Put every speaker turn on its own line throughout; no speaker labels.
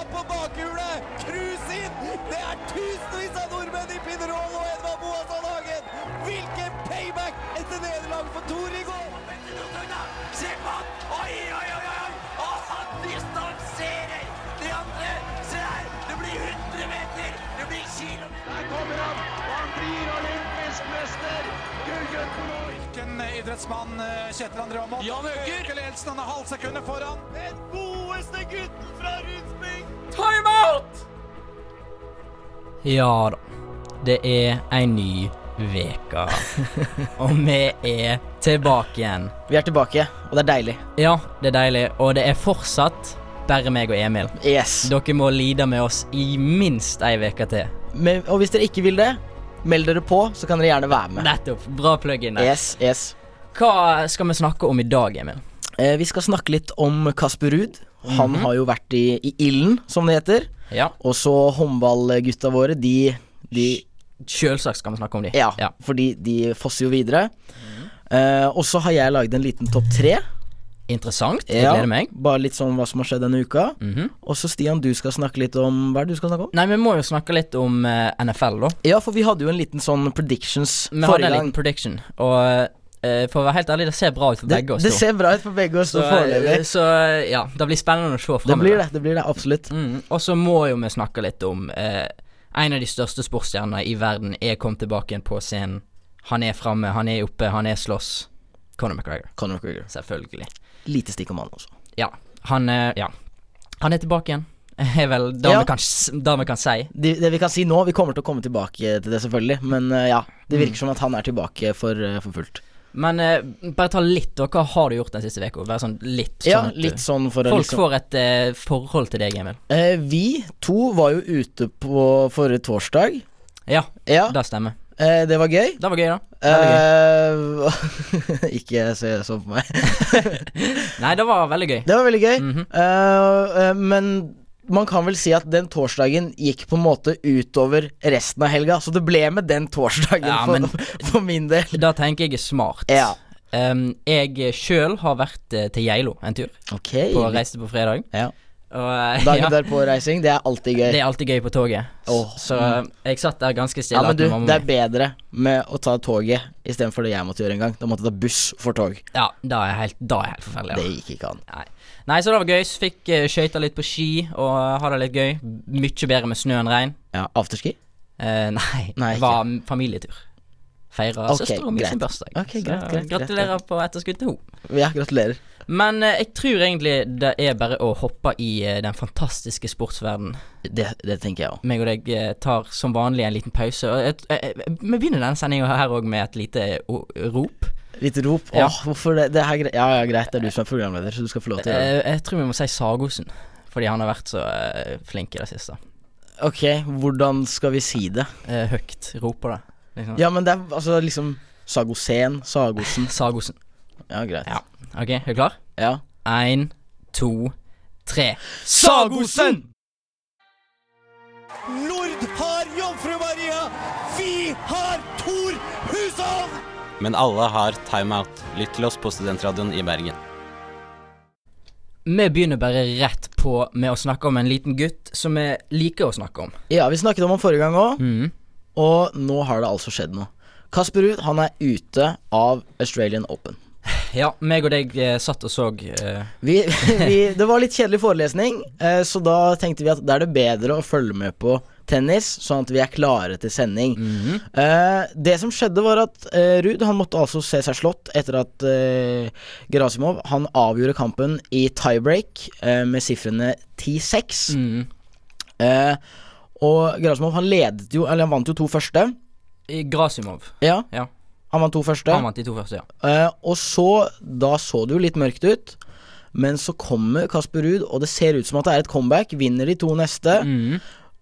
Opp på bakhjulet! Cruise inn! Det er tusenvis av nordmenn i Pinerol og Edvard Boasson Hagen! Hvilken payback etter nederlaget for Tor i går!
Se på han! Oi, oi, oi! oi! Og han distanserer de andre! Se her! Det blir 100 meter! Det blir kilometer!
Der kommer han! og Han blir olympisk mester! Gullgutten vår!
Hvilken idrettsmann eh, Kjetil André Aamodt?
Jan Øker!
Øker Elsen, han er halvt sekund foran.
Den godeste gutten fra Rundsbygd!
Ja da. Det er ei ny veke. og vi er tilbake igjen.
Vi er tilbake, og det er deilig.
Ja, det er deilig, og det er fortsatt bare meg og Emil.
Yes.
Dere må lide med oss i minst ei uke til.
Men, og hvis dere ikke vil det, meld dere på, så kan dere gjerne være med.
Nettopp. Bra plug-in der.
Yes, yes.
Hva skal vi snakke om i dag, Emil?
Eh, vi skal snakke litt om Kasper Ruud. Han har jo vært i, i ilden, som det heter.
Ja,
Og så håndballgutta våre, de, de
Selvsagt skal vi snakke om de.
Ja, fordi de fosser jo videre. Eh, og så har jeg lagd en liten topp tre.
Interessant. Jeg
Ja,
gleder meg.
Bare litt sånn hva som har skjedd denne uka. Og så Stian, du skal snakke litt om Hva er det du skal snakke om?
Nei, vi må jo snakke litt om eh, NFL, da.
Ja, for vi hadde jo en liten sånn predictions
Vi hadde
forrige
en
gang.
liten prediction, og eh, for å være helt ærlig, det ser bra ut for
Det,
begge oss.
det
to.
ser bra ut for begge oss
så, eh,
nå foreløpig.
så ja, det blir spennende å se
Det
framover.
blir det, det blir det, absolutt.
Mm, og så må jo vi snakke litt om eh, En av de største sportsstjernene i verden er kommet tilbake igjen på scenen. Han er framme, han er oppe, han er slåss. Conor McGregor,
Conor McGregor.
selvfølgelig.
Lite stikk om han også.
Ja. Han, eh, ja. han er tilbake igjen. Er vel det
Ja.
vi kan, s- det vi kan si.
Det, det vi kan si nå, vi kommer til å komme tilbake til det selvfølgelig, men eh, ja. Det
Mm.
virker som at han er tilbake for, eh, for fullt.
Men eh, bare ta litt, da. Hva har du gjort den siste uka? Bare sånn litt. Sånn
Ja,
at du-
litt sånn for å
Folk
liksom
får et eh, forhold til deg, Emil.
Eh, Vi to var jo ute på forrige torsdag.
Ja,
Ja,
det stemmer.
eh, det var gøy.
Det var gøy, da. Veldig gøy.
Eh, ikke se sånn på meg.
Nei, det var veldig gøy.
Det var veldig gøy. Eh, eh, men man kan vel si at den torsdagen gikk på en måte utover resten av helga, så det ble med den torsdagen
Ja,
for,
men-
for min del.
Da tenker jeg er smart.
Ja.
Um, jeg sjøl har vært eh, til Geilo en tur.
Ok.
På reiste på fredag.
Ja.
Og eh,
Dagen
ja,
derpå reising, det er alltid gøy.
det er alltid gøy på toget.
Åh.
Så eh, jeg satt der ganske stille.
ja,
med
men du,
mamma
det er
mi.
bedre med å ta toget istedenfor det jeg måtte gjøre en gang. Da måtte jeg ta buss for tog.
ja, da er jeg helt, da er jeg helt forferdelig.
Det
Ja.
gikk ikke an.
Nei. Nei, så det var gøy. Så fikk uh, skøyta litt på ski og ha det litt gøy. Mye bedre med snø enn regn.
Ja, Afterski?
Eh, nei,
Nei,
det var m- familietur. Feira
Ok,
søstera mi sin
greit.
bursdag.
Ok,
Så
greit, greit, greit,
gratulerer på etterskudd til henne.
Ja, gratulerer.
Men eh, jeg tror egentlig det er bare å hoppe i eh, den fantastiske sportsverdenen.
Det, det tenker jeg òg.
Meg og deg eh, tar som vanlig en liten pause. Og et, eh, eh, vi begynner denne sendinga her òg med et lite o- rop.
Litt rop.
Ja.
Åh, hvorfor det, det her, gre- ja, ja, greit, det er du som er programleder, så du skal få lov til å gjøre det.
Eh, jeg tror vi må si Sagosen, fordi han har vært så eh, flink i det siste.
Eh, Ok, hvordan skal vi si det?
Eh, høyt roper det. Liksom.
Ja, men det er altså liksom Sagosen, Sagosen
Sagosen.
Ja, greit.
Ja. OK, er du klar?
Ja.
Én, to, tre.
Sagosen!
Nord har Jomfru Maria! Vi har Tor Hushovd!
Men alle har timeout. Lytt til oss på Studentradioen i Bergen.
Vi begynner bare rett på med å snakke om en liten gutt som vi liker å snakke om.
ja, vi snakket om han forrige gang òg,
Mm.
og nå har det altså skjedd noe. Kasper Ruud han er ute av Australian Open.
Ja, meg og deg eh, satt og så eh,
Vi, vi, det var litt kjedelig forelesning, eh, så da tenkte vi at da er det bedre å følge med på tennis, sånn at vi er klare til sending.
Mhm.
Eh, det som skjedde, var at eh, Ruud han måtte altså se seg slått etter at eh, Gerasimov han avgjorde kampen i tiebreak eh, med sifrene 10-6.
mm,
Eh, og Gerasimov han ledet jo Eller han vant jo to første.
i Grasimov.
Ja,
Ja.
han vant to første.
Han vant de to første, ja.
Eh, og så Da så det jo litt mørkt ut. Men så kommer Kasper Ruud, og det ser ut som at det er et comeback. Vinner de to neste.
Mm.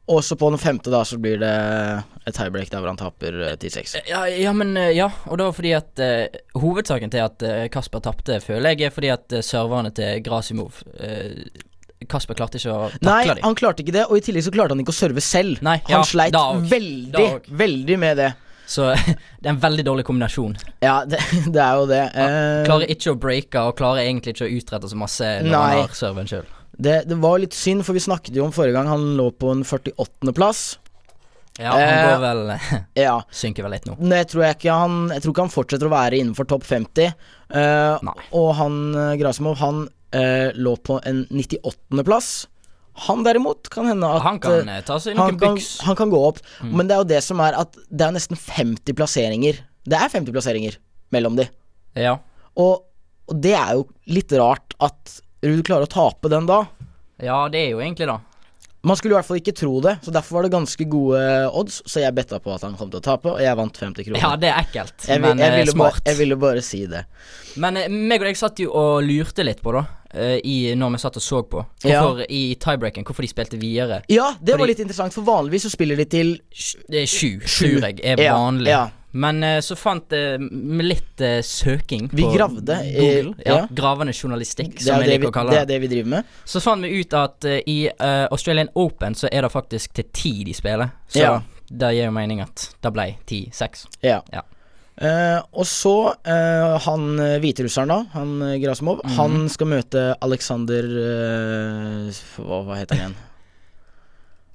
Og så på den femte, da, så blir det et tiebreak der hvor han taper eh, 10-6.
ja. Ja, men eh, Ja, og det var fordi at eh, Hovedsaken til at eh, Kasper tapte, føler jeg, er fordi at eh, serverne til Grasimov eh, Kasper klarte ikke å
Nei,
takle dem.
han klarte ikke det, og i tillegg så klarte han ikke å serve selv.
Nei, ja,
han sleit
da og- da
veldig,
og.
veldig med det.
Så det er en veldig dårlig kombinasjon.
Ja, det, det er jo det. Eh,
Klarer ikke å breake og klarer egentlig ikke å utrette så masse når
Nei.
han har serven sjøl.
Det, det var litt synd, for vi snakket jo om forrige gang han lå på en 48.-plass.
Ja, han
Eh,
går vel
Ja.
Synker vel litt nå.
Nei, jeg tror, jeg, ikke han, jeg tror ikke han fortsetter å være innenfor topp 50. Eh,
Nei.
og han eh, Grasimov, han eh, lå på en 98.-plass. Han derimot kan hende at
Han kan
eh,
eh, ta seg
han
noen
kan,
byks. Mm.
han kan gå opp. Men det er jo det som er at det er nesten 50 plasseringer. Det er 50 plasseringer mellom de.
Ja.
Og, og det er jo litt rart at Ruud klarer å tape den da.
ja, det er jo egentlig det.
Man skulle i hvert fall ikke tro det, så derfor var det ganske gode odds. Så jeg betta på at han kom til å tape, og jeg vant 50 kroner.
Ja, det er ekkelt,
Liksom. jeg, vil-
men
jeg,
eh,
ville bare,
smart.
jeg ville bare si det.
Men eh, meg og deg satt jo og lurte litt på, da, eh, i, når vi satt og så på, hvorfor i tiebreaken hvorfor de spilte videre.
Ja, det var
Fordi-
litt interessant, for vanligvis så spiller de til
Sj- Det er sju,
Sju.
tror jeg, er
Ja,
vanlig.
ja.
Men eh, så fant jeg med litt eh, søking
Vi
på
gravde, eh,
Google. ja,
ja.
Gravende journalistikk,
det er,
som
jo det,
jeg liker å
vi,
kalle
det
det.
er det vi driver med.
Så fant vi ut at eh, i eh, Australian Open så er det faktisk til ti de spiller. Så
Ja.
det gir jo mening at det ble ti-seks.
Ja.
Ja.
Eh, og så eh, han eh, hviterusseren, da, han eh, Grasimov,
Mhm.
han skal møte Aleksander eh, hva, hva heter han igjen?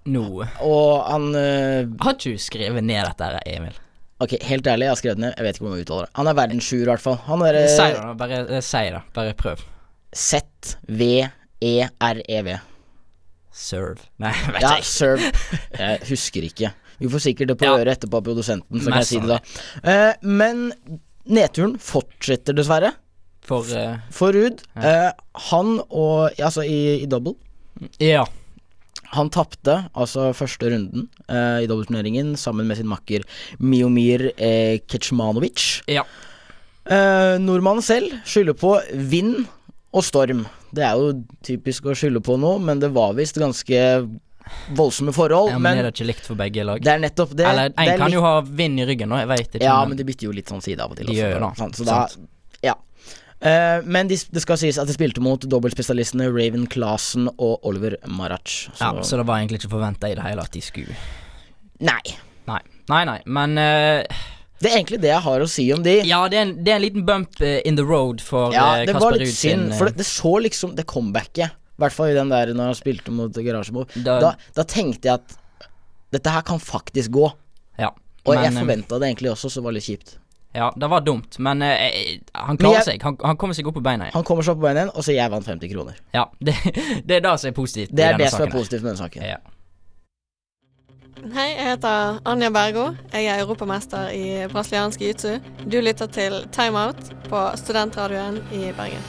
Nå
Og han eh,
Har ikke du skrevet ned dette, her, Emil?
Ok, helt ærlig, jeg har skrevet ned. Jeg vet ikke hvordan man uttaler det. Han er verdenssjuer, i hvert fall. Han er
Si det,
eh,
da. Bare eh, si det. Bare prøv.
E Z-V-E-R-E-V.
Serve. Nei, vet
Ja,
jeg ikke.
serve. Jeg husker ikke. Vi får sikkert det på
Ja.
øret etterpå av produsenten, så kan jeg
Mest
si det da. Eh, men nedturen fortsetter, dessverre,
For eh,
for Ruud. Eh, han og ja, Altså, i, i double.
Ja.
Han tapte altså første runden eh, i dobbeltturneringen sammen med sin makker Miomir eh, Kecmanovic.
Ja.
Eh, nordmannen selv skylder på vind og storm. Det er jo typisk å skylde på noe, men det var visst ganske voldsomme forhold.
ja men,
men
er det ikke likt for begge lag?
det er nettopp det.
Eller
det
en
er
kan
litt-
jo ha vind i ryggen, da. Jeg vet ikke.
Ja, men de bytter jo litt sånn side av og til.
De
også,
gjør jo det,
sant? Så da, ja. Eh, men de, det skal sies at de spilte mot dobbeltspesialistene Raven Clasen og Oliver Marac. Så,
ja, så det var egentlig ikke forventa i det hele at de skulle
nei.
Nei. Nei, nei, men eh,
Det er egentlig det jeg har å si om de.
Ja, det er, en, det er en liten bump eh, in the road for
Ja,
eh,
det var
Kasper
litt
Ruud sin
synd,
eh,
for det, det så liksom det comebacket. I hvert fall i den der når han spilte mot Garasjebo. Da,
Da-
da, tenkte jeg at dette her kan faktisk gå.
Ja.
Og
men,
jeg
eh,
forventa det egentlig også, så det var litt kjipt.
Ja, det var dumt, men eh, eh, han
Men
klarer
jeg-
seg. Han, han kommer seg opp på beina igjen.
Han kommer seg opp på beina igjen, og så jeg vant 50 kroner.
Ja, det, det er det som er positivt. i
Det er
denne
det som
saken
er
her.
positivt med denne saken.
Ja.
Hei, jeg heter Anja Bergo. Jeg er europamester i brasiliansk jiu-jitsu. Du lytter til Timeout på studentradioen i Bergen.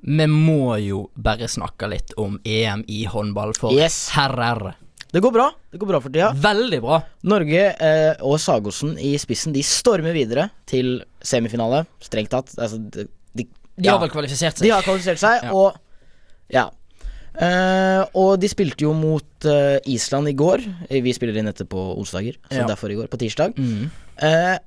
Vi må jo bare snakke litt om EM i håndball for
Yes.
herrer.
Det går bra. Det går bra for tida.
Veldig bra.
Norge eh, og Sagosen i spissen, de stormer videre til semifinale, strengt tatt. Altså, de, de,
De
ja.
har vel kvalifisert seg.
De har kvalifisert seg,
Ja.
og ja. Eh, og de spilte jo mot eh, Island i går. Eh, Vi spiller inn dette på onsdager, så
Ja.
derfor i går, på tirsdag.
Mhm.
Eh,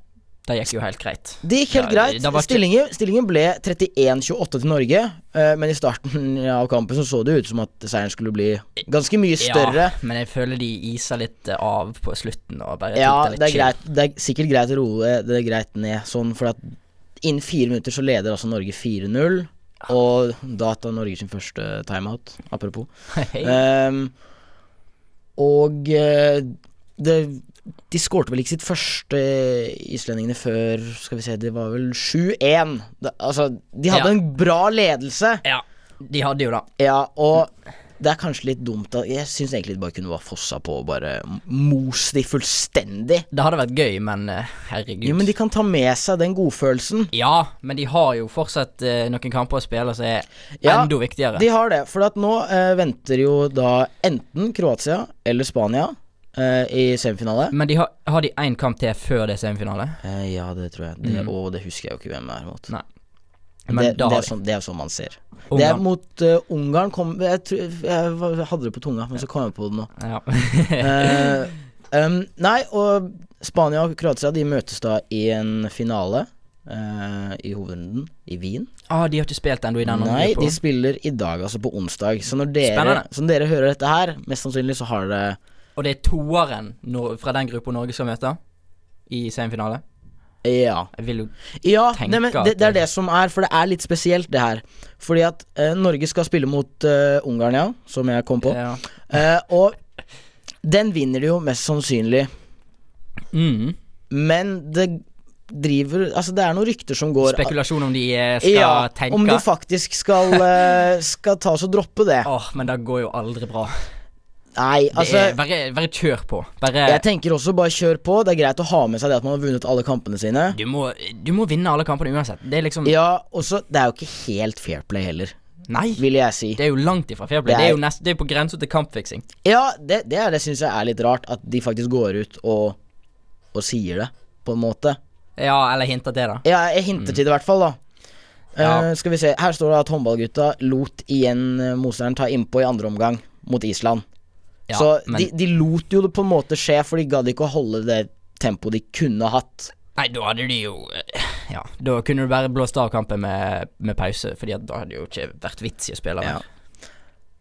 Det gikk jo helt greit.
det gikk helt
Ja, det
greit.
var ikke-
stillingen, stillingen ble 31-28 til Norge, eh, men i starten av kampen så så det ut som at seieren skulle bli ganske mye større.
Ja, men jeg føler de isa litt eh, av på slutten og bare
Ja,
tok
det
litt
er, greit, det er sikkert greit å roe det er greit ned sånn, for at innen fire minutter så leder altså Norge 4-0. Og da tar Norge sin første timeout, apropos.
chill. Hei.
Ehm, og eh, det, de skårte vel ikke sitt første eh, islendingene før Skal vi se, det var vel 7-1. Det- Altså, de hadde
Ja.
en bra ledelse.
Ja, de hadde jo det.
Ja, og det er kanskje litt dumt at Jeg syns egentlig de bare kunne bare fossa på og bare mos de fullstendig.
Det hadde vært gøy, men eh, herregud.
Jo, men de kan ta med seg den godfølelsen.
Ja, men de har jo fortsatt eh, noen kamper å spille som er
Ja,
enda viktigere.
De har det, for at nå eh, venter jo da enten Kroatia eller Spania eh, i semifinale.
Men de har, har de én kamp til før det er semifinale?
Eh, ja, det tror jeg. Det, Og det husker jeg jo ikke hvem er mot.
Mm. Nei.
det,
Men
det,
da har
er
de
sånn, det er sånn man ser. Det er
Ungarn.
mot eh, Ungarn kom, jeg, tror- jeg var- hadde det på tunga, men så kom jeg på det nå.
Ja.
Eh, um, nei, og Spania og Kroatia De møtes da i en finale eh, i hovedrunden i Wien.
ah, de har ikke spilt ennå i den andre
Nei,
gruppa.
de spiller i dag, altså på onsdag. Så når dere,
Spennende.
så når dere hører dette her, mest sannsynlig så har det
Og det er toeren nå- fra den gruppa Norge skal møte i semifinale.
Ja.
Jeg vil jo
Ja,
tenker
nei, men
at
det, det er
det-
det som er, for det er litt spesielt, det her. Fordi at eh, Norge skal spille mot eh, Ungarn, ja, som jeg kom på.
ja.
Eh, og den vinner de jo mest sannsynlig,
mm.
men det driver Altså, det er noen rykter som går
Spekulasjon om de eh, skal
Ja,
tenke
om de faktisk skal, eh, skal ta oss og droppe det.
Åh, men det går jo aldri bra.
Nei,
Det
altså
er, bare, bare kjør på. Bare
Jeg tenker også bare kjør på. Det er greit å ha med seg det at man har vunnet alle kampene sine.
du må, du må vinne alle kampene uansett. Det er liksom
Ja, og så Det er jo ikke helt fair play heller,
Nei!
vil jeg si.
Det er jo langt ifra fair play.
Det er-
Det er jo nest, det er på grensa til kampfiksing.
Ja, det, det, er- det syns jeg er litt rart. At de faktisk går ut og, og sier det, på en måte.
Ja, eller hinter til, da.
Ja, jeg hinter til det i hvert fall, da.
Mm. Ja.
Eh, skal vi se. Her står det at håndballgutta lot igjen eh, motstanderen ta innpå i andre omgang mot Island.
Ja,
så
men
de, de lot jo det på en måte skje, for de gadd ikke å holde det tempoet de kunne hatt.
Nei, da hadde de jo eh, Ja, da kunne du bare blåst av kampen med, med pause, Fordi at da hadde det jo ikke vært vits i å spille
Ja.
mer.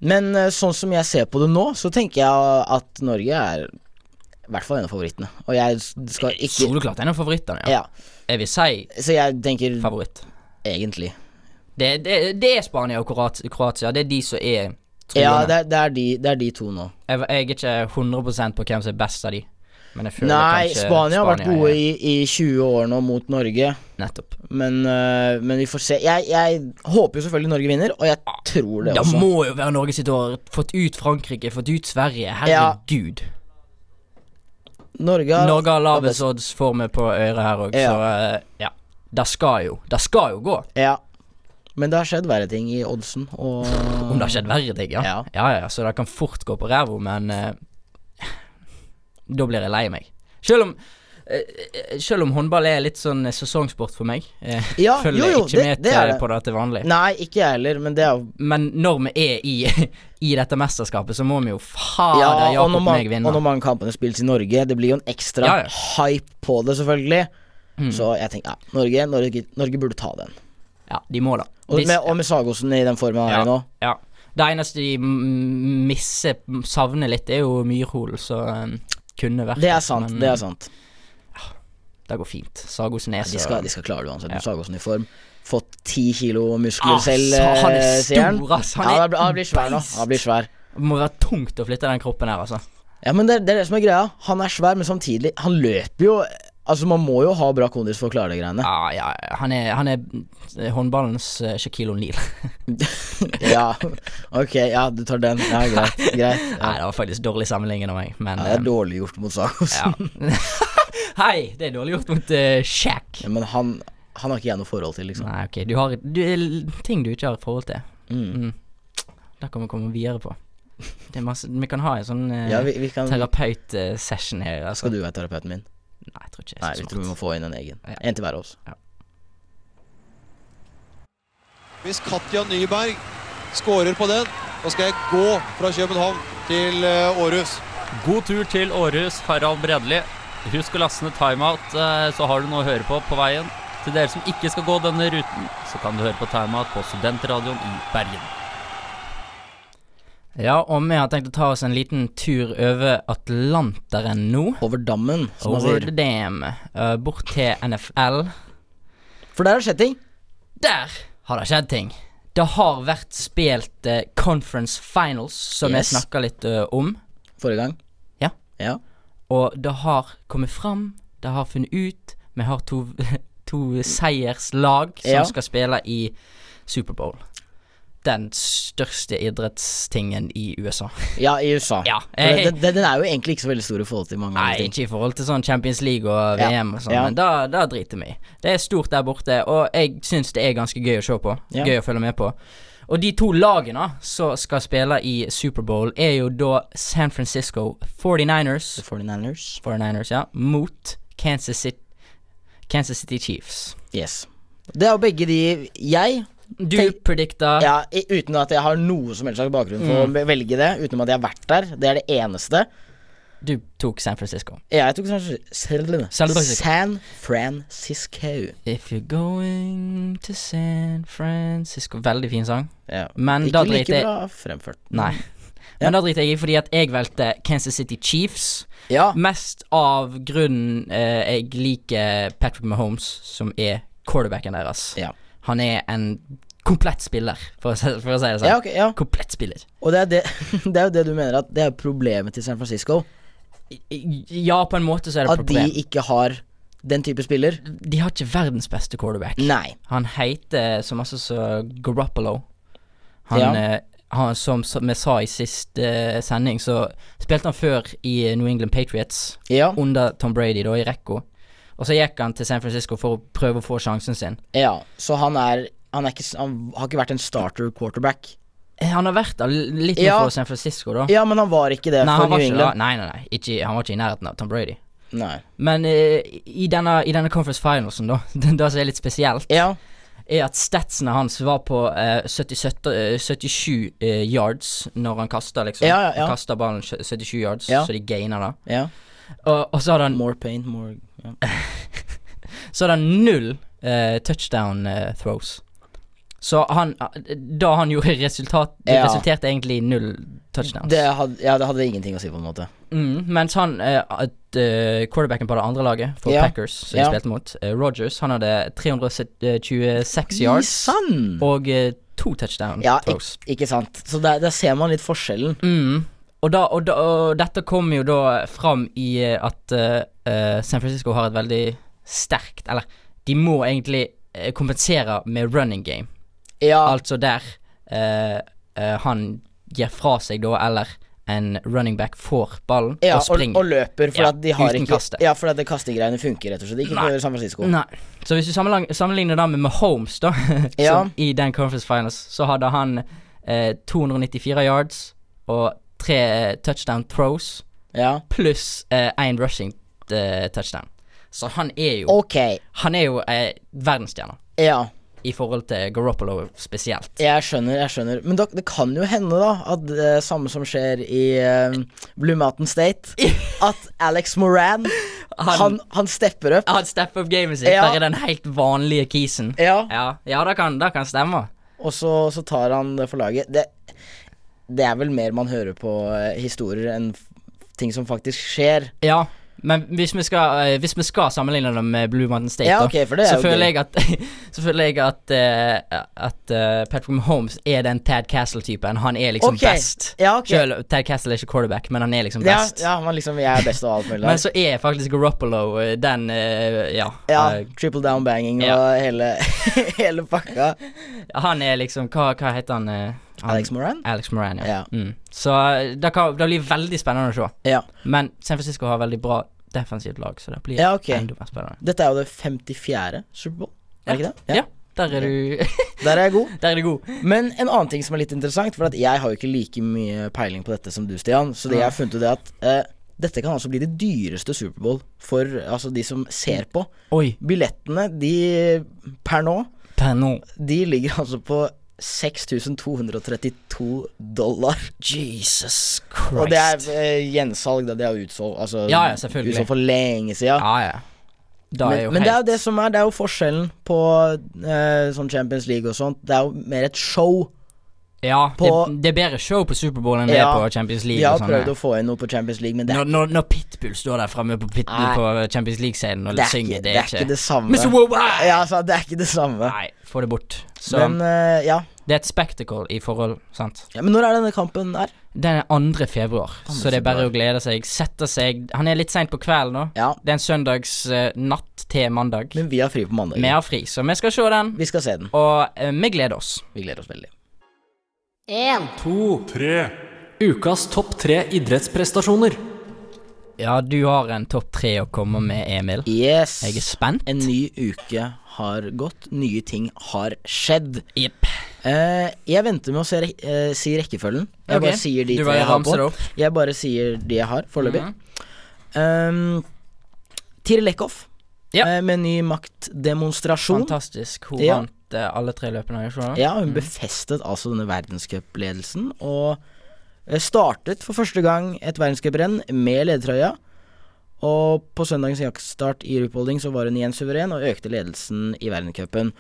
Men eh, sånn som jeg ser på det nå, så tenker jeg at Norge er i hvert fall en av favorittene. Og jeg s- skal ikke
Soleklart en av favorittene, ja.
Ja.
Jeg vil si
Så jeg tenker
favoritt.
egentlig
Det, det, det er Spania og Kroat- Kroatia. Det er de som er
Ja,
truende.
det er, det, er de, det er de to nå.
jeg, jeg er ikke 100 på hvem som er best av de, men jeg føler
Nei,
kanskje
Spania har vært gode
er-
i, i 20 år nå mot Norge.
Nettopp.
Men, øh, men vi får se. Jeg, jeg håper jo selvfølgelig Norge vinner, og jeg tror det
Da
også.
må jo være Norge sitt år. Fått ut Frankrike, fått ut Sverige. Herregud.
Norge har
Norge har lavest odds for meg på øret her òg, så eh, ja. Det skal jo Det skal jo gå.
Ja. Men det har skjedd verre ting i oddsen, og
Om det har skjedd verre ting, ja.
Ja.
ja, ja, så det kan fort gå på ræva, men eh, Da blir jeg lei meg. Selv om eh, eh, selv om håndball er litt sånn sesongsport for meg, eh,
Ja,
følger
jo, jo,
ikke
det,
med
det er
til-
det.
på det til vanlig.
Nei, ikke jeg heller, men det er jo
Men når vi er i, i dette mesterskapet, så må vi jo fader
ja, og,
Jakob
når
meg
man, og
vinne.
når mange kampene spilles i Norge, det blir jo en ekstra
Ja, Mm. ja.
hype på det, selvfølgelig. Så jeg tenker ja, Norge, Norge, Norge burde ta den.
Ja, de må da.
Og
Hvis-
med, og med Sagosen i den formen han er i nå.
ja. Det eneste de mm, misser, mm, savner litt, er jo Myrhol, så um, kunne vært
Det er sant.
men
det er sant
det går fint. Sagosen er så
De skal, de skal klare det uansett.
Ja.
med Sagosen i form. Fått ti kilo muskler
Ah,
selv,
sa- han er
eh, sier han.
stor, ass. Han
Ja,
er
han blir- han blir svær nå.
beist.
Han blir svær.
Det må være tungt å flytte den kroppen her, altså.
Ja, men det, er- det er det som er greia. Han er svær, men samtidig Han løper jo Altså, man må jo ha bra kondis for å klare de greiene.
Ja, Ah, ja, han er, han er mm, håndballens eh, Shaquille O'Neal.
Ja, ok, ja, du tar den. Ja, greit. greit.
Nei,
Ja.
det var faktisk dårlig sammenlignet av meg, men
Ja, det er
eh,
dårlig gjort mot Sagosen.
ja. Hei, det er dårlig gjort mot eh, Shaq.
Ja. Men han, han har ikke jeg noe forhold til, liksom.
Nei, ok, du har du, eh, ting du ikke har forhold til. Mm. Det kan vi komme videre på. Det er masse, vi kan ha en sånn eh,
Ja, vi, vi kan
terapeut-session her. Altså.
Skal du være terapeuten min?
Nei, jeg tror ikke jeg
Nei,
er
vi
så
tror vi må
smart.
få inn en egen.
Ja.
En til hver av oss.
Hvis Katja Nyberg skårer på den, så skal jeg gå fra København til eh, Århus.
God tur til Århus, Harald Bredli. Husk å laste ned timeout, eh, så har du noe å høre på på veien. Til dere som ikke skal gå denne ruten, så kan du høre på timeout på Studentradioen i Bergen.
Ja, og vi har tenkt å ta oss en liten tur over Atlanteren nå.
Over dammen, som man
Over the
sier.
dam. eh, bort til NFL.
For der har det skjedd ting.
Der har det skjedd ting. Det har vært spilt eh, conference finals, som jeg
Yes.
snakka litt eh, om.
Forrige gang.
Ja.
Ja.
Og det har kommet fram, det har funnet ut Vi har to, to seierslag som
Ja.
skal spille i Superbowl. Den største idrettstingen i USA.
Ja, i USA.
Ja,
For
eh,
den, den, den er jo egentlig ikke så veldig stor i forhold til mange andre
Nei,
ting.
ikke i forhold til sånn Champions League og
Ja.
VM og sånn,
Ja.
men da, da driter vi i. Det er stort der borte, og jeg syns det er ganske gøy å se på.
Ja.
Gøy å følge med på. Og de to lagene som skal spille i Superbowl, er jo da San Francisco 49ers
49ers.
49ers, ja, mot Kansas City, Kansas City Chiefs.
Yes. Det er jo begge de jeg
Du
Tenk-
predikta
ja, i- Uten at jeg har noe som helst slags bakgrunn
Mm.
for å velge det, utenom at jeg har vært der. Det er det eneste.
Du tok San Francisco.
Jeg tok San
San
Francisco.
Francisco.
San Francisco.
If you're going to San Francisco Veldig fin sang.
Ja.
Men
ikke
da
like Mm.
driter jeg-
bra fremført.
Nei. Men da driter jeg i, fordi at jeg valgte Kansas City Chiefs.
Ja.
Mest av grunnen eh, jeg liker Patrick Mahomes, som er quarterbacken deres.
Ja.
Han er en komplett spiller, for å si, for å si det sånn.
Ja, ok, ja.
Komplett spiller.
Og det er, det, det er jo det du mener at det er problemet til San Francisco.
I- i- Ja, på en måte så er det et
At de
problem.
ikke har den type spiller.
De har ikke verdens beste quarterback.
Nei.
Han heter så masse som Garoppolo. Han,
Ja.
eh, han som som vi sa i sist eh, sending, så spilte han før i New England Patriots,
Ja.
under Tom Brady, da, i rekka. Og så gikk han til San Francisco for å prøve å få sjansen sin.
ja. Så han er, han er ikke s- Han har ikke vært en starter quarterback.
Eh, Han har vært der l- litt nå
Ja.
for San Francisco, da.
Ja, men han var ikke det
nei,
for
han var
New
ikke, da.
England.
nei, nei, nei. Ikke, han var ikke i nærheten av Tom Brady.
Nei.
Men eh, i, denne, i denne conference finalsen, da, det som er litt spesielt,
Ja.
er at statsene hans var på eh, 77, eh, 77 eh, yards når han kasta, liksom.
Ja, ja, ja.
Han kasta ballen sj- 77 yards,
Ja.
så de gainer det.
ja.
Og, og så hadde han,
More pain, more ja.
så hadde han null eh, touchdown eh, throws. Så han eh, Da han gjorde resultat Det
Ja.
resulterte egentlig i null touchdowns.
Det hadde, ja, det hadde ingenting å si, på en måte.
Mm, mens han eh, at, eh, quarterbacken på det andre laget, for
Ja.
Packers, som de
Ja.
spilte mot, eh, Rogers, han hadde 326 eh, yards
Sann!
og eh, to touchdown
Ja, ik
throws.
ikke sant. Så der, der ser man litt forskjellen.
Mm. Og, da, og, da, og dette kommer jo da fram i eh, at eh, eh, San Francisco har et veldig sterkt Eller de må egentlig eh, kompensere med running game.
Ja,
Altså der eh, eh, han gir fra seg da, eller en running back får ballen
ja
og
og,
springer.
og, løper, for
Ja,
at de har
uten
ikke
kaste.
Ja, for at det kastegreiene funker rett og slett ikke
Nei.
for San Francisco.
Nei. Så hvis du sammenlang- sammenligner det med Mahomes, da,
Ja.
som i den conference finals, så hadde han eh, 294 yards og tre eh, touchdown throws.
Ja.
pluss én rushing eh, touchdown. Så han er jo
Ok.
Han er jo eh, verdensstjerne
Ja.
i forhold til Garoppolo spesielt.
Jeg skjønner, jeg skjønner. Men da, det kan jo hende, da, at det samme som skjer i eh, Blue Mountain State At Alex Moran, han, han, stepper opp.
Han stepper opp gamet sitt,
Ja.
bare den helt vanlige kisen.
Ja.
Ja, ja det, kan, det kan stemme.
Og så, så tar han det for laget. Det, det er vel mer man hører på eh, historier enn f- ting som faktisk skjer.
Ja, men hvis vi skal, eh, hvis vi skal sammenligne det med Blue Mountain State,
Ja,
da,
ok, for det er
så,
jo
føler
gøy.
jeg at, så føler jeg at, eh, at eh, Patrick Mahomes er den Tad Castle-typen. Han er liksom
Ok,
best.
ja, ok.
Selv Tad Castle er ikke quarterback, men han er liksom
Ja,
best.
ja, man liksom, jeg er best av alt mulig.
Men
der.
så er faktisk Garoppolo eh, den eh, ja,
Ja,
eh,
triple down banging og
ja.
hele, hele pakka.
Han er liksom Hva, hva heter han, eh, han?
Alex Moran?
Alex Moran, ja.
Ja.
Mm. Så eh, det, kan, det blir veldig spennende å se.
Ja.
Men San Francisco har veldig bra defensivt lag, så det blir
Ja, ok.
enda mer spennende.
Dette er jo det 54. Superbowl, er det ikke det?
Ja, der er du
Der er jeg god.
Der er du god.
Men en annen ting som er litt interessant, for at jeg har jo ikke like mye peiling på dette som du, Stian, så det jeg har funnet ut er at eh, dette kan altså bli det dyreste Superbowl for altså, de som ser på.
Oi,
Billettene, de per nå,
per nå.
de ligger altså på 6232 dollar.
Jesus
Og det er
Christ.
eh, gjensalg, da. Det er jo utsolgt altså,
Ja, ja, selvfølgelig.
utsolgt for lenge siden.
Ja, ja. Da er
Men,
jo
men det er jo
helt
det som er Det er jo forskjellen på eh, sånn Champions League og sånt. Det er jo mer et show.
Ja, det,
på-
det er bedre show på Superbowl enn det er
Ja,
på Champions
Vi
League. og
har
sånn, sånne.
prøvd å få inn noe på Champions League, men det
Når,
er,
når, når Pitbull står der framme på, Pit-
Nei.
på Champions League-scenen og
det, er
synger,
ikke, det er ikke det samme.
Mr. Worldwide!
Ja, altså, det er ikke det samme.
Nei, få det bort. Så
Men eh, ja.
det er et spectacle i forhold, sant.
ja. Men når er denne kampen her?
Den er 2. februar, så det er bare
februar.
å glede seg. Sette seg Han er litt seint på kvelden nå.
Ja.
Det er en søndags eh, natt til mandag.
Men vi har fri på mandag.
Vi har fri, så vi skal se den.
Vi skal se den.
Og eh, vi gleder oss.
Vi gleder oss veldig.
Ukas topp tre idrettsprestasjoner.
Ja, du har en topp tre å komme med, Emil.
Yes.
Jeg er spent.
En ny uke har gått. Nye ting har skjedd.
Jepp.
Eh, jeg venter med å se re eh, si rekkefølgen. Jeg
Ok.
bare sier de
Du
tre
bare
jeg har
ramser
på.
det opp. Mhm.
Jeg bare sier de jeg har, foreløpig. Um, Tiril Eckhoff
Ja.
eh, med ny maktdemonstrasjon.
Fantastisk. Mhm. Hun
Ja.
vant eh, alle tre løpene. Jeg tror.
Ja, hun befestet altså denne verdenscupledelsen og eh, startet for første gang et verdenscuprenn med ledertrøya. Og på søndagens jaktstart i Rupolding så var hun igjen suveren og økte ledelsen i verdenscupen.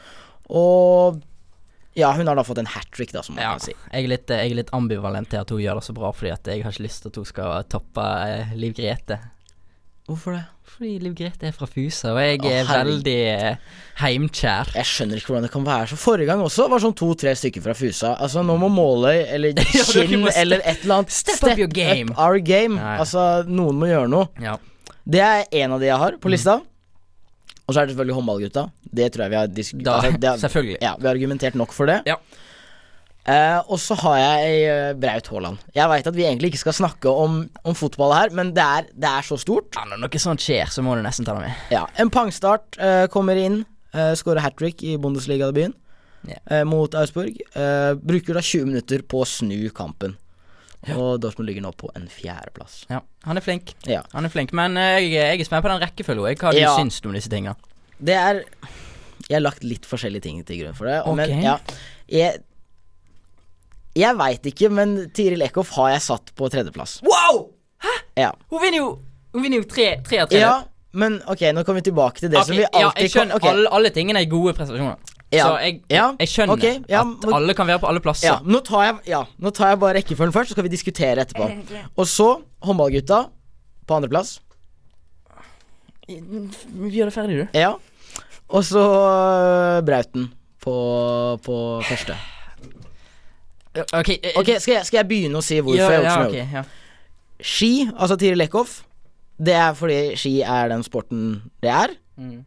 Og Ja, hun har da fått en hat trick, da, som man
Ja,
kan si.
jeg er, litt, eh, jeg er litt ambivalent til at hun gjør det så bra, fordi at jeg har ikke lyst til at hun skal toppe eh, Liv Grete.
Hvorfor det?
Fordi Liv Grete er fra Fusa, og jeg
Å,
er
herregud.
veldig eh, heimkjær.
Jeg skjønner ikke hvordan det kan være så. Forrige gang også var sånn to-tre stykker fra Fusa. Altså, nå må Måløy eller Kinn
må step-
eller et eller annet
step up your game.
up our game.
Ja, ja.
Altså, noen må gjøre noe.
Ja.
Det er en av de jeg har
Mm.
på lista. Og så er det selvfølgelig håndballgutta. Det tror jeg vi har diskutert.
Da,
altså, det har-
selvfølgelig.
Ja, vi har argumentert nok for det.
Ja.
Eh, og så har jeg eh, Braut Haaland. Jeg veit at vi egentlig ikke skal snakke om, om fotball her, men det er, det er så stort.
Ja, når noe sånt skjer, så må du nesten ta det med.
Ja, En pangstart eh, kommer inn, uh, skårer hat trick i Bundesliga-debuten
Ja.
eh, mot Augsburg. eh, bruker da 20 minutter på å snu kampen. Og Dortmund ligger nå på en fjerdeplass.
Ja, han er flink.
Ja.
Han er flink, Men eh, jeg, jeg er spent på den rekkefølgen. jeg. Hva
Ja.
du syns om disse tinga.
Det er Jeg har lagt litt forskjellige ting til grunn for det. og- Men
Ok.
ja Jeg, jeg veit ikke, men Tiril Eckhoff har jeg satt på tredjeplass.
Wow!
Ja.
Hun vinner jo Hun vinner jo tre, tre av tre.
ja, men ok, nå kommer vi tilbake til det
Ok,
som vi
ja,
alltid
jeg skjønner,
kan ok.
alle, alle tingene er gode prestasjoner.
Ja.
Så jeg,
Ja.
jeg skjønner
Ok, ja,
at
men-
alle kan være på alle
Ja,
plasser.
nå tar, jeg, ja, nå tar jeg bare rekkefølgen først, så skal vi diskutere etterpå. Og så håndballgutta på andreplass.
Vi gjør det ferdig, du.
Ja. Og så øh, Brauten på, på første.
Ok, eh,
Ok, skal jeg, skal jeg begynne å si hvorfor
ja,
jeg har gjort
ja,
som jeg har
ok,
gjort?
ja.
Ski, altså Tiril Eckhoff, det er fordi ski er den sporten det er.
Mm.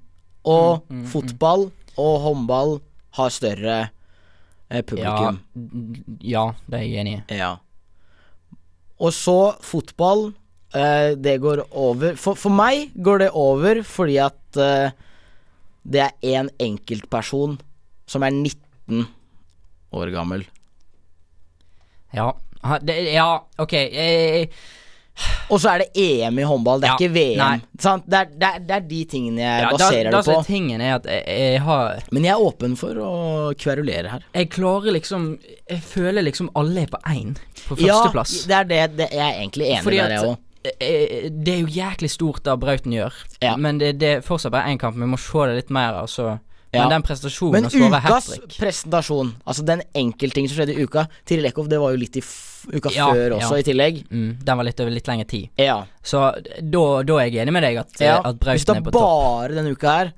Og fotball og håndball har større eh,
Ja,
publikum.
n- ja, det er jeg enig i.
Ja. Og så fotball. eh, det går over for, for meg går det over fordi at eh, det er én en enkeltperson som er 19 år gammel.
Ja. Ha, det, ja, ok. eh,
Og så er det EM i håndball, det er
Ja,
ikke VM.
nei.
Sant? Det, er, det, er, det er de tingene jeg
ja, da,
baserer
da,
det
så
på.
er tingen er at jeg, jeg har
Men jeg er åpen for å kverulere her.
Jeg klarer liksom Jeg føler liksom alle er på én på
Ja,
førsteplass.
det er det, det jeg er egentlig enig
Fordi at
med deg òg.
eh, det er jo jæklig stort det Brauten gjør,
Ja.
men det, det er fortsatt bare én kamp. Vi må se det litt mer. Altså. Men
Ja.
den prestasjonen
Men
å skåre
ukas
hat trick
presentasjon, altså den enkelttingen som skjedde i uka Tiril Eckhoff, det var jo litt i f uka
Ja,
før også,
ja.
i tillegg.
mm, Den var litt over litt lengre tid.
Ja.
Så da, da er jeg enig med deg at, eh,
ja.
at
Hvis det
Brauten
er
er på topp.
bare denne uka her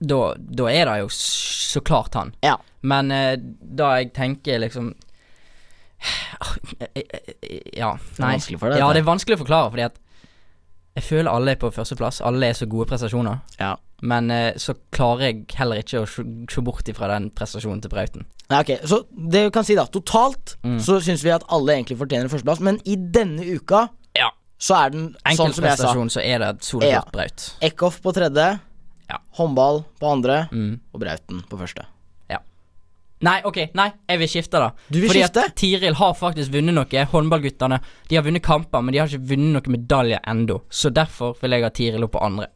Da, da er det jo s- så klart han.
Ja.
Men eh, da jeg tenker liksom Ah, eh, eh, Ja, nei.
vanskelig for deg,
ja,
dette.
det er vanskelig å forklare, fordi at jeg føler alle er på førsteplass. Alle er så gode prestasjoner.
Ja.
Men eh, så klarer jeg heller ikke å se se bort ifra den prestasjonen til Brauten.
Nei, ok, Så det vi kan si, da, totalt
Mm.
så syns vi at alle egentlig fortjener en førsteplass, men i denne uka
Ja.
så er den sånn som jeg sa.
Enkeltprestasjon, så er det et
Ja.
soleklart Braut.
Eckhoff på tredje,
Ja.
håndball på andre
Mm.
og Brauten på første.
Nei, ok, nei, jeg vil skifte, da.
Du vil
Fordi
skifte?
at Tiril har faktisk vunnet noe. Håndballguttene de har vunnet kamper, men de har ikke vunnet noen medaljer ennå. Så derfor vil jeg ha Tiril opp på andre.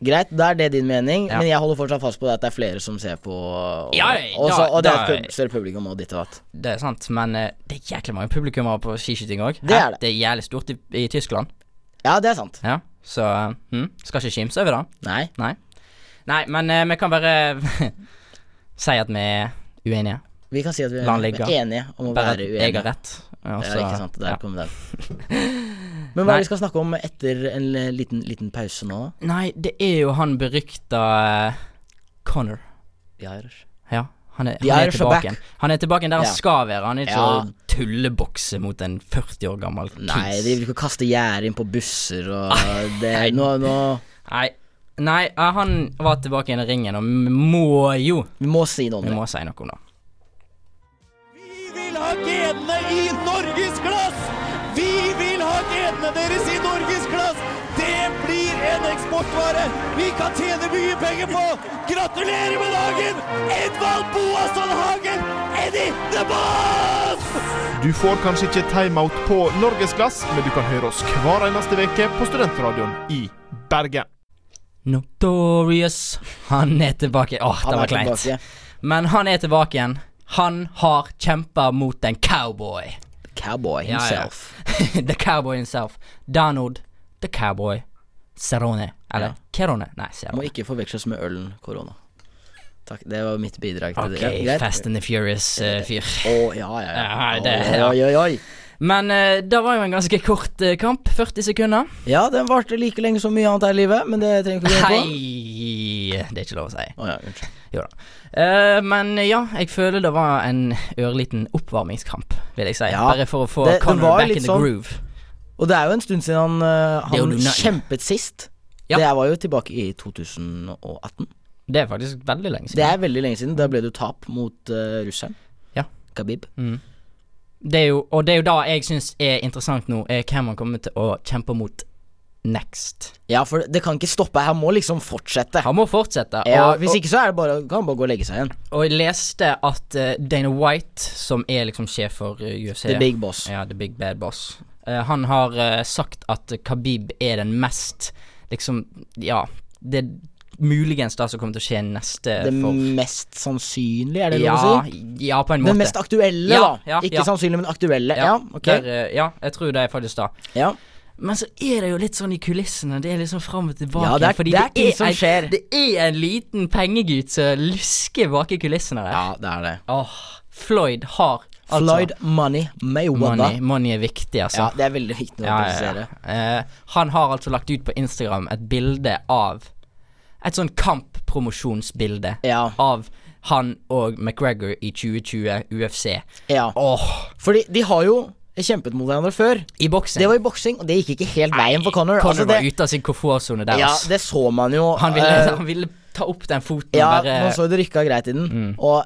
Greit, da er det din mening,
Ja.
men jeg holder fortsatt fast på det at det er flere som ser på, og,
Ja, ja,
og, så,
da-
og det er
da-
pub- større publikum og ditt og datt.
Det er sant, men eh, det er jæklig mange publikummere på skiskyting òg.
Det er det.
Det er jævlig stort i, i Tyskland.
Ja, det er sant.
Ja, så eh, hm, skal ikke kimse over det.
Nei.
Nei. Nei, men eh, vi kan bare si at vi er uenige.
Vi kan si at vi
La han
er
ligge.
enige om å
Bare at
være
jeg
uenige.
har rett. og
Ja,
så-
ikke sant. Der
ja.
kom den. Men hva er
Nei.
det vi skal snakke om etter en l- liten, liten pause nå? da?
Nei, det er jo han berykta eh, Connor. Ja. Han er,
The
han er
Irish are back.
tilbake igjen. Han er tilbake igjen der
Ja.
han skal være. Han er ikke
Ja.
å tullebokse mot en 40 år gammel kis.
Nei, de vil ikke kaste gjerde inn på busser og det Nå, nå
Nei. Nei, eh, han var tilbake igjen i ringen, og vi må jo
Vi må si noe om
Vi
det.
må si noe om det.
Vi vil ha genene i norgesklass! Vi vil ha genene deres i norgesklass! Det blir en eksportvare vi kan tjene mye penger på! Gratulerer med dagen, Edvald Boasson Hagen, Eddie the Boss!
Du får kanskje ikke timeout på norgesglass, men du kan høre oss hver eneste uke på Studentradioen i Bergen.
Notorious. Han er tilbake. Åh, det
Han er
var kleint.
tilbake.
Men han er tilbake igjen. Han har kjempa mot en cowboy.
Cowboy
Ja, ja.
himself.
the cowboy himself. Donald the cowboy Cerrone. Eller
Ja.
Kerone. Nei,
Må
Cerrone.
ikke forveksles med ølen korona. Takk, det var mitt bidrag til
Ok,
det. Ja, greit.
Fast and the eh, Furious-fyr.
Å, ja, ja, ja.
oi, oi, oi. Men eh, det var jo en ganske kort eh, kamp. 40 sekunder.
Ja, den varte like lenge som mye annet her i livet, men det trenger vi ikke gå inn på.
Hei! Det er ikke lov å si.
Å, ja,
jo da. Eh, men ja, jeg føler det var en ørliten oppvarmingskamp, vil jeg si.
Ja,
Bare for å få
det- det
Conor
var
back
litt
in the
sånn-
groove.
Og det er jo en stund siden han, eh,
Det er jo
han
Luna-
kjempet sist.
Ja.
Det her var jo tilbake i 2018.
Det er faktisk veldig lenge siden.
Det er veldig lenge siden. Da ble det jo tap mot eh, russeren.
Ja.
Khabib.
Mm. Det er jo, og det er jo da jeg syns er interessant nå, er hvem han kommer til å kjempe mot next.
Ja, for det kan ikke stoppe. Han må liksom fortsette.
Han må fortsette.
Ja,
og-
hvis
og-
ikke så er det bare, kan han bare gå og legge seg igjen.
Og jeg leste at eh, Dana White, som er liksom sjef for eh, UFC
The big boss.
Ja, the big bad boss. Eh, han har eh, sagt at Khabib er den mest liksom Ja, det er muligens det som kommer til å skje neste
Det
for
mest sannsynlige, er det
ja,
lov å si?
ja, på en måte.
Den mest aktuelle,
Ja,
da.
ja,
ikke
ja.
sannsynlig, men aktuelle. Ja, ok.
der, eh, ja, jeg tror det er faktisk det.
Ja.
Men så er det jo litt sånn i kulissene. Det er liksom fram og tilbake.
Ja, det er-
fordi
det er ting som
en,
skjer.
Det er en liten pengegutt som lusker bak i kulissene der.
ja, det er det.
Åh, Floyd har altså
Floyd Money Mayweather.
money, money er viktig, altså.
Ja, det er veldig viktig å
Ja, ja,
presisere.
ja. Eh, han har altså lagt ut på Instagram et bilde av Et sånn kamppromosjonsbilde
Ja.
av han og McGregor i 2020 UFC.
Ja.
Åh,
Fordi de har jo kjempet mot hverandre før.
I boksing.
Det var i boksing, og det gikk ikke helt veien for Connor.
Conor
Altså,
var
det,
ute av sin komfortsone der,
ja,
ass.
det så man jo.
han, ville,
eh,
han ville ta opp den foten
ja,
og bare Mm.
man så jo det rykka greit i den. Og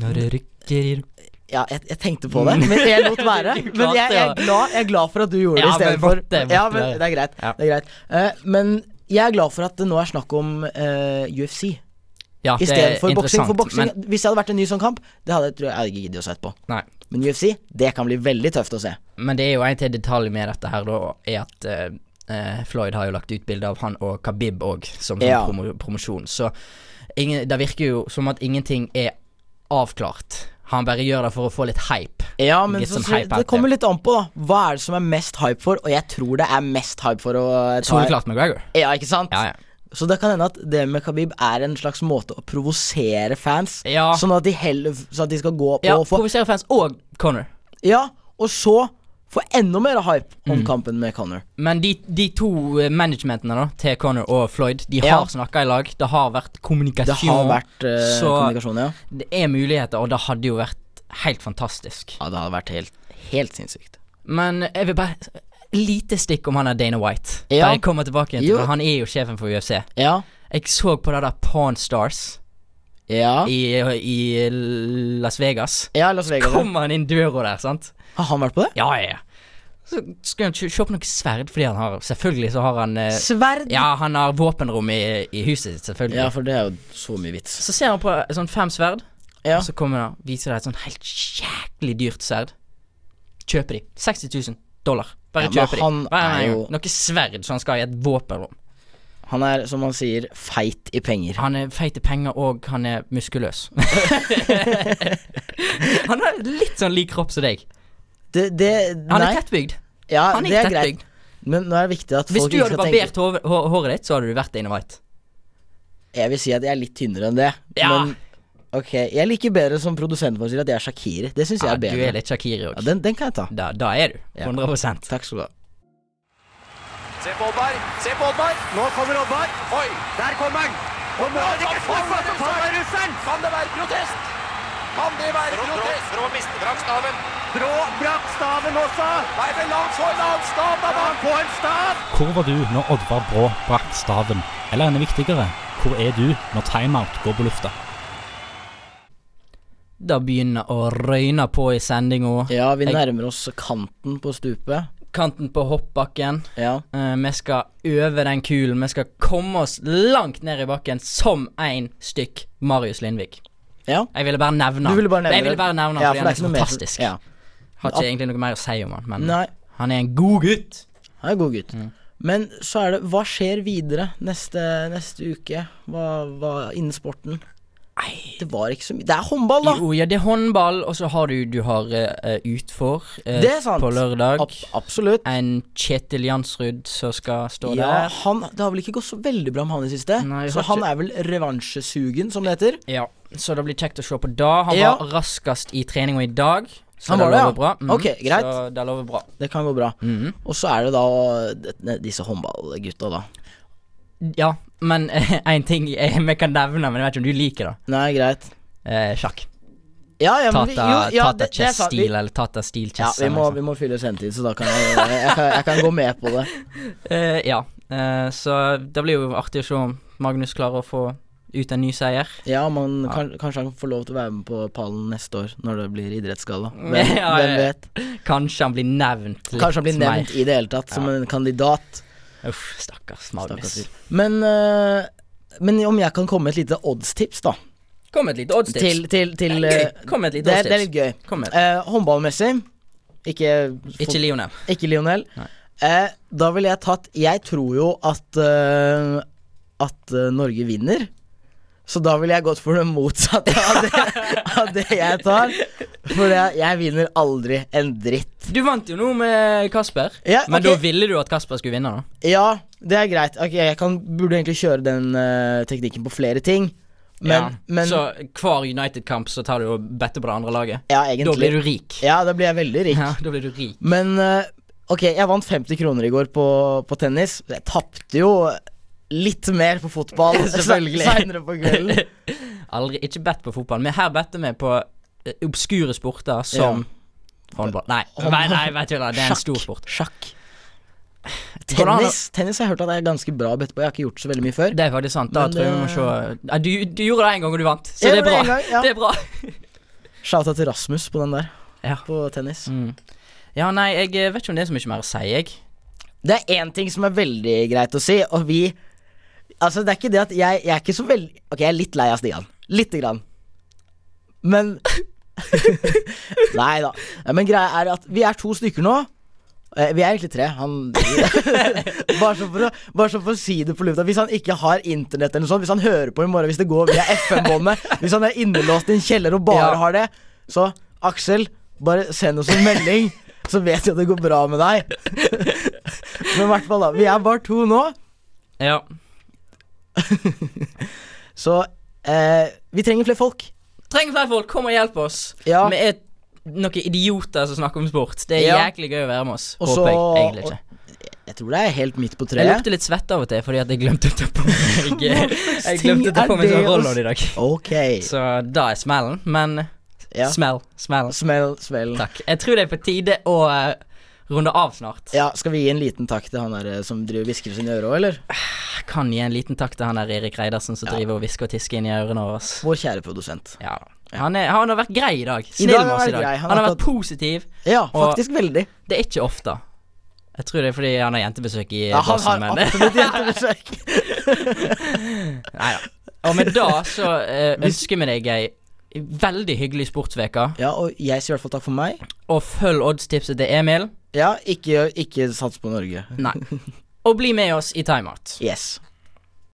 Når det rykker i
ja, jeg, jeg tenkte på det, men jeg lot være.
Du klarte
Men jeg, jeg, er
Mm. det.
glad, jeg er glad for at du gjorde det
Ja, men
istedenfor.
måtte, måtte
Ja, men
være.
det er greit.
Ja.
Det er greit. Eh, men jeg er glad for at det nå er snakk om eh, UFC.
Ja, det er
Istedenfor boksing. For
interessant,
boksing,
men
hvis det hadde vært en ny sånn kamp, det hadde jeg, tror jeg, jeg hadde ikke giddet å se på.
Nei.
Men UFC, det kan bli veldig tøft å se.
Men det er jo en til detalj med dette her, da, er at eh, eh, Floyd har jo lagt ut bilde av han og Khabib òg, som sånn
Ja.
promo promosjon. Så ingen, det virker jo som at ingenting er avklart. Han bare gjør det for å få litt hype.
Ja, men
Get
så,
some
så,
hype out
det kommer
there.
litt an på, da. Hva er det som er mest hype for? Og jeg tror det er mest hype for å eh, ta
Soleklart McGregor.
Ja, ikke sant?
Ja, ja.
Så det kan hende at det med Khabib er en slags måte å provosere fans
Ja.
Sånn at de heller Sånn at de skal gå på
Ja,
og få
Provoserer fans og Connor.
Ja, og så få enda mer hype om kampen med Conor.
Men de, de to eh, managementene da til Connor og Floyd, de
Ja.
har snakka i lag. Det har vært
Det
kommunikasjon.
har vært eh,
så
kommunikasjon, ja.
det er muligheter, og det hadde jo vært helt fantastisk.
Ja, det hadde vært helt, helt sinnssykt.
Men jeg vil bare Lite stikk om han er Dana White.
Ja.
Da jeg kommer tilbake igjen til
Jo.
det. Han er jo sjefen for UFC.
Ja.
Jeg så på det der Pawn Stars
Ja.
i, i Las Vegas.
ja, Las Vegas. Ah. ja.
Kommer han inn døra der, sant?
Har han vært på det?
Ja, ja, ja. Så skal han kjø- kjøpe noe sverd, fordi han har Selvfølgelig så har han eh,
Sverd?
Ja, han har våpenrom i, i huset sitt, selvfølgelig.
Ja, for det er jo så mye vits.
Så ser han på sånn fem sverd,
Ja.
og så kommer han og viser deg et sånn helt jæklig dyrt sverd. Kjøper de. 60 000 dollar. Bare
Ja, men
kjøper
han
de. Bare
er
en
jo-
gang. Noe sverd som han skal i et våpenrom.
Han er, som han sier, feit i penger.
Han er feit i penger, og han er muskuløs. han har litt sånn lik kropp som deg.
Det, det
Han
Nei.
er tettbygd.
Ja,
han er
det er
ikke
greit.
tettbygd.
Men nå er det viktig at
Hvis
folk
du
ikke
hadde
skal tenke
barbert hår, hår, håret ditt, så hadde du vært Dana White.
Jeg vil si at jeg er litt tynnere enn det.
Ja.
Men ok, jeg liker bedre som produsenten vår sier at jeg er Shakiri. Det syns jeg
Ja,
er
du
bedre.
er litt Shakiri
ja,
òg.
den, den kan jeg ta.
Da, da er du.
Ja.
100
Takk skal du ha.
Se på Oddvar, se på Oddvar. Nå kommer Oddvar. Oi, der kommer han. Og nå er det ikke snakk om at han tar av russeren. Kan det være protest? Kan det være protest? Brå mister brakk staven. Brå brakk staven også. Nei, men la han få en annen stav, da. Han får en stav.
Hvor var du når Oddvar Brå brakk staven? Eller enda viktigere, hvor er du når timeout går på lufta?
Da begynner å røyne på i sendinga.
Ja, vi
Jeg-
nærmer oss kanten på stupet.
Kanten på hoppbakken.
Ja.
Eh, vi skal øve den kulen. Vi skal komme oss langt ned i bakken som én stykk Marius Lindvik.
Ja.
Jeg ville bare nevne
Du ville bare nevne
Jeg ville
det.
bare nevne han
Ja,
fordi
for
han
det
er så
ikke noe mer-
fantastisk.
ja.
Har ikke egentlig noe mer å si om han, men
Nei,
han er en god gutt.
han er en god gutt.
Mm.
Men så er det Hva skjer videre neste, neste uke? Hva, hva innen sporten? Det var ikke så mye Det er håndball, da!
Jo, ja, det er håndball, og så har du, du har eh, utfor eh,
Det er sant.
på lørdag.
absolutt.
En Kjetil Jansrud som skal stå
ja,
der.
han, det har vel ikke gått så veldig bra med han i det siste,
Nei,
så
har
han
ikke-
er vel revansjesugen, som det heter.
Ja, så det blir kjekt å se på da. Han
Ja.
var raskest i treninga i dag, så
Han var
det
det,
lover bra.
ja.
Mhm,
Ok, greit.
Så Mm. det lover bra.
Det kan gå bra. Og så er det da ne, disse håndballgutta, da.
Ja, men én ting jeg, vi kan nevne, men jeg vet ikke om du liker det.
Nei, greit.
Eh, sjakk.
Ja, ja, men vi-
Tata,
jo, ja,
tata
det- det er
chess
sant. Vi-
stil, eller Tata stil
Ja,
chess.
vi
eller
må,
noe
vi må fylle sendetid, så da kan jeg, jeg, kan, jeg kan gå med på det.
Eh, ja, eh, så det blir jo artig å se om Magnus klarer å få ut en ny seier.
Ja, man,
Ja.
kan, Kanskje han får lov til å være med på pallen neste år, når det blir idrettsgalla. Hvem,
Ja,
hvem
eh,
vet?
Kanskje han blir nevnt litt
Kanskje han blir nevnt
mer.
i det hele tatt som en kandidat.
Uff, stakkars Magnus.
Stakkars Men, eh, men om jeg kan komme med et lite oddstips, da.
Kom med et lite oddstips.
Til, til, til
Det er
eh,
gøy. Kom med et lite
det,
oddstips.
det er litt gøy.
Kom med.
Eh, håndballmessig ikke,
Ikke Lionel.
Ikke Lionel. Eh, da ville jeg tatt Jeg tror jo at eh, At eh, Norge vinner. Så da ville jeg gått for det motsatte av det, av det jeg tar. For jeg, jeg vinner aldri en dritt.
Du vant jo nå med Kasper,
Ja,
men
ok.
da ville du at Kasper skulle vinne, da?
Ja, det er greit. Ok, jeg kan, burde egentlig kjøre den eh, teknikken på flere ting. Men,
ja.
men
så hver United-kamp så tar du og better på det andre laget?
Ja, egentlig.
Da blir du rik.
Ja, da blir jeg veldig rik.
Ja, da blir du rik.
Men eh, ok, jeg vant 50 kroner i går på, på tennis. Jeg tapte jo litt mer på fotball
Selvfølgelig.
seinere på kvelden.
Aldri, ikke bet på fotball, men her better vi på eh, obskure sporter som håndball. Nei, nei, nei, vet du hva, det er en stor sport.
Sjakk.
Går det an å-
Tennis, tennis har jeg hørt at det er ganske bra å bette på. Jeg har ikke gjort så veldig mye før.
Det er faktisk sant. Da
Men,
tror jeg vi må
eh,
se Nei, du, du gjorde det én gang, og du vant, så det
Jeg
er
gjorde
bra.
det en gang, ja.
Det er bra.
Shouta til Rasmus på den der,
Ja. Mm.
på tennis.
Ja, nei, jeg eh, vet ikke om det er så mye mer å si, jeg.
Det er én ting som er veldig greit å si, og vi Altså, det er ikke det at jeg, jeg er ikke så veldig Ok, jeg er litt lei av Stian. Lite grann. Men Nei da. Nei, Men greia er at vi er to stykker nå. Eh, Vi er egentlig tre. Han bare, så for å, bare så for å si det på lufta. Hvis han ikke har internett eller noe sånt, hvis han hører på i morgen, hvis det går via FM-båndet, hvis han er innelåst i en kjeller og bare
Ja.
har det, så Aksel, bare send oss en melding, så vet vi at det går bra med deg. Men i hvert fall, da. Vi er bare to nå,
Ja.
så eh, vi trenger flere folk.
Trenger flere folk, kom og hjelp oss.
Ja.
Vi er noen idioter som snakker om sport. Det er
Ja.
jæklig gøy å være med oss.
Og så-
håper jeg egentlig ikke.
Jeg tror det er helt midt på
Jeg
treet.
lukter litt svette av og til fordi at jeg glemte å ta på meg Jeg, jeg glemte å ta
ting
på
er
meg
det
sånn
å
roll-on
s-
i dag.
Ok.
Så da er smellen, men
Ja.
Smell, smell.
Smell, smell.
Takk. Jeg tror det er på tide å eh, runde av snart.
Ja, Skal vi gi en liten takk til han der eh, som driver og hvisker i sine ører òg, eller?
Jeg kan gi en liten takk til han der Erik Reidarsen som driver og hvisker og tisker inn i ørene våre. ass.
Vår kjære produsent.
Ja. Han, er, han har vært grei i dag.
dag
Snill
har
med oss
han
i dag.
vært grei.
Han,
Han
har
har
vært positiv.
Ja,
Og-
faktisk veldig.
Det er ikke ofte. Jeg tror det er fordi han har jentebesøk i
Ja, han
basen,
har
men
absolutt hjertebesøk.
Nei da. Og med det så eh, ønsker vi deg ei veldig hyggelig sportsveke.
Ja, og jeg sier i hvert fall takk for meg.
Og følg oddstipset til Emil.
Ja, ikke, ikke sats på Norge.
Nei. Og bli med oss i timeout.
Yes.